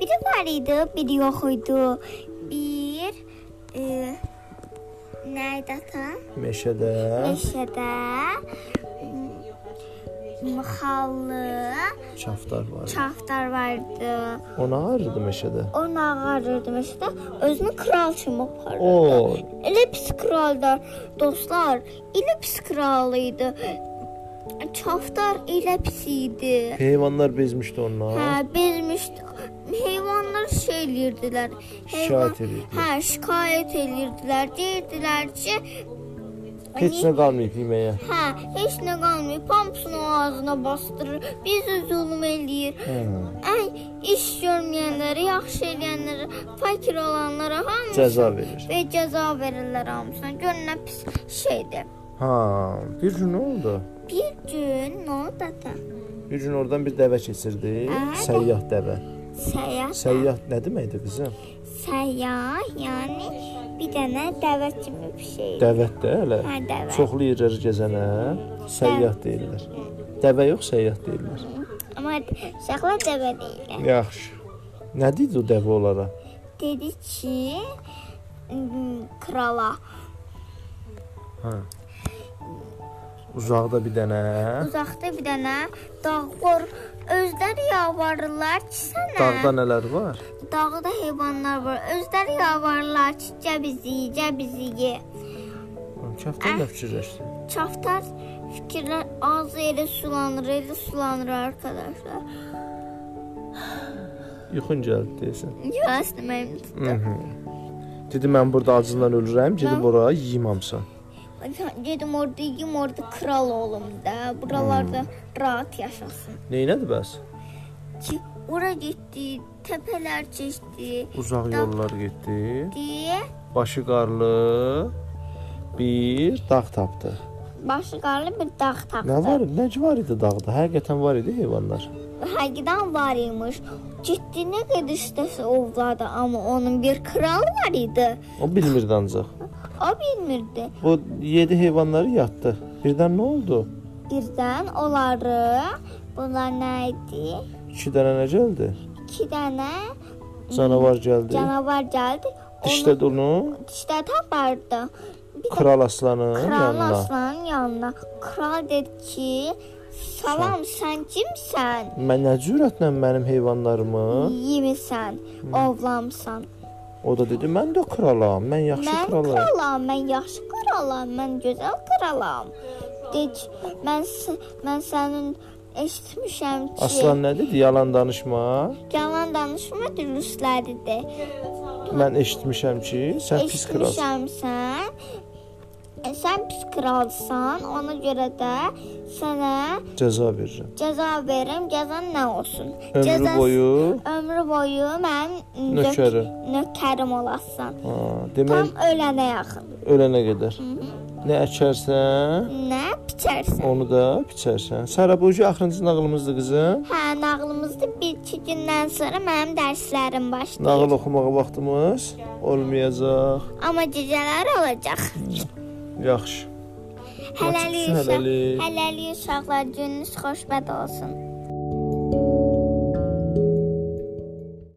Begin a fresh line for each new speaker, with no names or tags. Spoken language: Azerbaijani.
biri var idi, bir yox idi. Bir e, Nədə atan?
Meşədə.
Meşədə m, xallı,
Çafdar var.
çafdar vardı.
O nə ağacıdır meşədə?
O nağarırdı meşədə, özünü kral kimi aparırdı.
O
Elə pis kraldır dostlar. Elə pis kral idi. Çafdar elə pis idi.
heyvanlar bezmişdi onunla.
Hə, bezmişdi. Heyvanlar şey eləyirdilər.
Şikayət eləyirdilər.
Hə, şikayət eləyirdilər. Deyirdilər ki, hani,
Heç nə qalmayıb yeməyə.
Hə, heç nə qalmayıb. Pampusunu ağzına bastırır. Bizə zülm eləyir.
Hə.
Ən iş görməyənlərə, yaxşı eləyənlərə, fakir olanlara hamı
Cəza verir.
və cəza verirlər hamısına. Gör nə pis şeydir.
Ha, bir gün nə oldu?
Bir gün nə oldu da?
Bir gün oradan bir dəvə keçirdi.
Hə.
Səyyah dəvə.
Səyyah.
Səyyah nə deməkdir qızım?
Səyyah, yəni bir dənə dəvə kimi bir şeydir.
Dəvət də elə.
Hə, dəvə.
Çoxlu yerlər gəzənə səyyah deyirlər. Dəvə yox, səyyah deyirlər.
Amma uşaqlar dəvə deyirlər.
Yaxşı. Nə dedi o dəvə onlara?
Dedi ki, m, krala
Hə. Uzaqda bir dənə hə?
uzaqda bir dənə dağ var. Özləri yalvarırlar ki, sənə
dağda nələr var?
dağda heyvanlar var. Özləri yalvarırlar ki, gə bizi, gə bizi ye. Hə?
Kəftə nə fikirləşdi?
Çaftar fikirlər ağzı elə sulanır, elə sulanır arkadaşlar.
Yuxun gəldi desən.
Yas deməyim tutdu.
Mhm. Dedi mən burada acından ölürəm, gedib ora yeyimamsan.
Gedim orada yiyim, orada kral olum da. Buralarda rahat yaşasın.
Neynədi bəs?
Ki ora getdi, təpələr keçdi.
Uzaq yollar getdi.
Diye
Başı qarlı bir dağ tapdı.
başı qarlı bir dağ tapdı.
Nə var? Nə var idi dağda? Həqiqətən var idi heyvanlar.
Həqiqətən var imiş. Getdi nə qədər istəsə ovladı, amma onun bir kralı var idi.
O bilmirdi ancaq.
O bilmirdi.
Bu 7 heyvanları yatdı. Birdən nə oldu?
Birdən onları bunlar nə idi?
2 dənə nə gəldi?
2 dənə
Canavar
Hmm.
gəldi.
canavar gəldi. Onu
Dişlədi onu.
dişlədə apardı. Bir də
Kral aslanın
Kral
yanına.
aslanın yanına. Kral dedi ki, salam sən kimsən?
Mən nə cürətlə mənim heyvanlarımı?
Hmm. Yemisən, ovlamsan.
O da dedi, mən də kralam, mən yaxşı
Mən
kralam.
kralam, mən yaxşı kralam, mən gözəl kralam. Dedi ki, mən s- mən sənin eşitmişəm ki,
Aslan nə dedi? Yalan danışma.
yalan danışma dürüstləridir.
Mən eşitmişəm ki, sən pis kralsan.
Eşitmişəm sən. e, Sən pis kralsan, ona görə də sənə
Cəza verirəm.
cəza verirəm. Cəzan nə olsun?
Ömrü
Cəzası-
boyu.
ömrü boyu mənim nök-
Nökəri.
nökərim olasan.
Ha,
Tam
demək
ölənə yaxın.
ölənə qədər. Nə əkərsən,
Nə biçərsən?
onu da biçərsən. Sarabucu axırıncı nağılımızdır qızım.
Hə, nağlımızda 1-2 gündən sonra mənim dərslərim başlayır.
Nağıl oxumağa vaxtımız olmayacaq.
Amma gecələr olacaq.
Yaxşı.
Hələlik
çıxsın,
uşaq,
hələlik.
hələlik uşaqlar gününüz xoşbəxt olsun.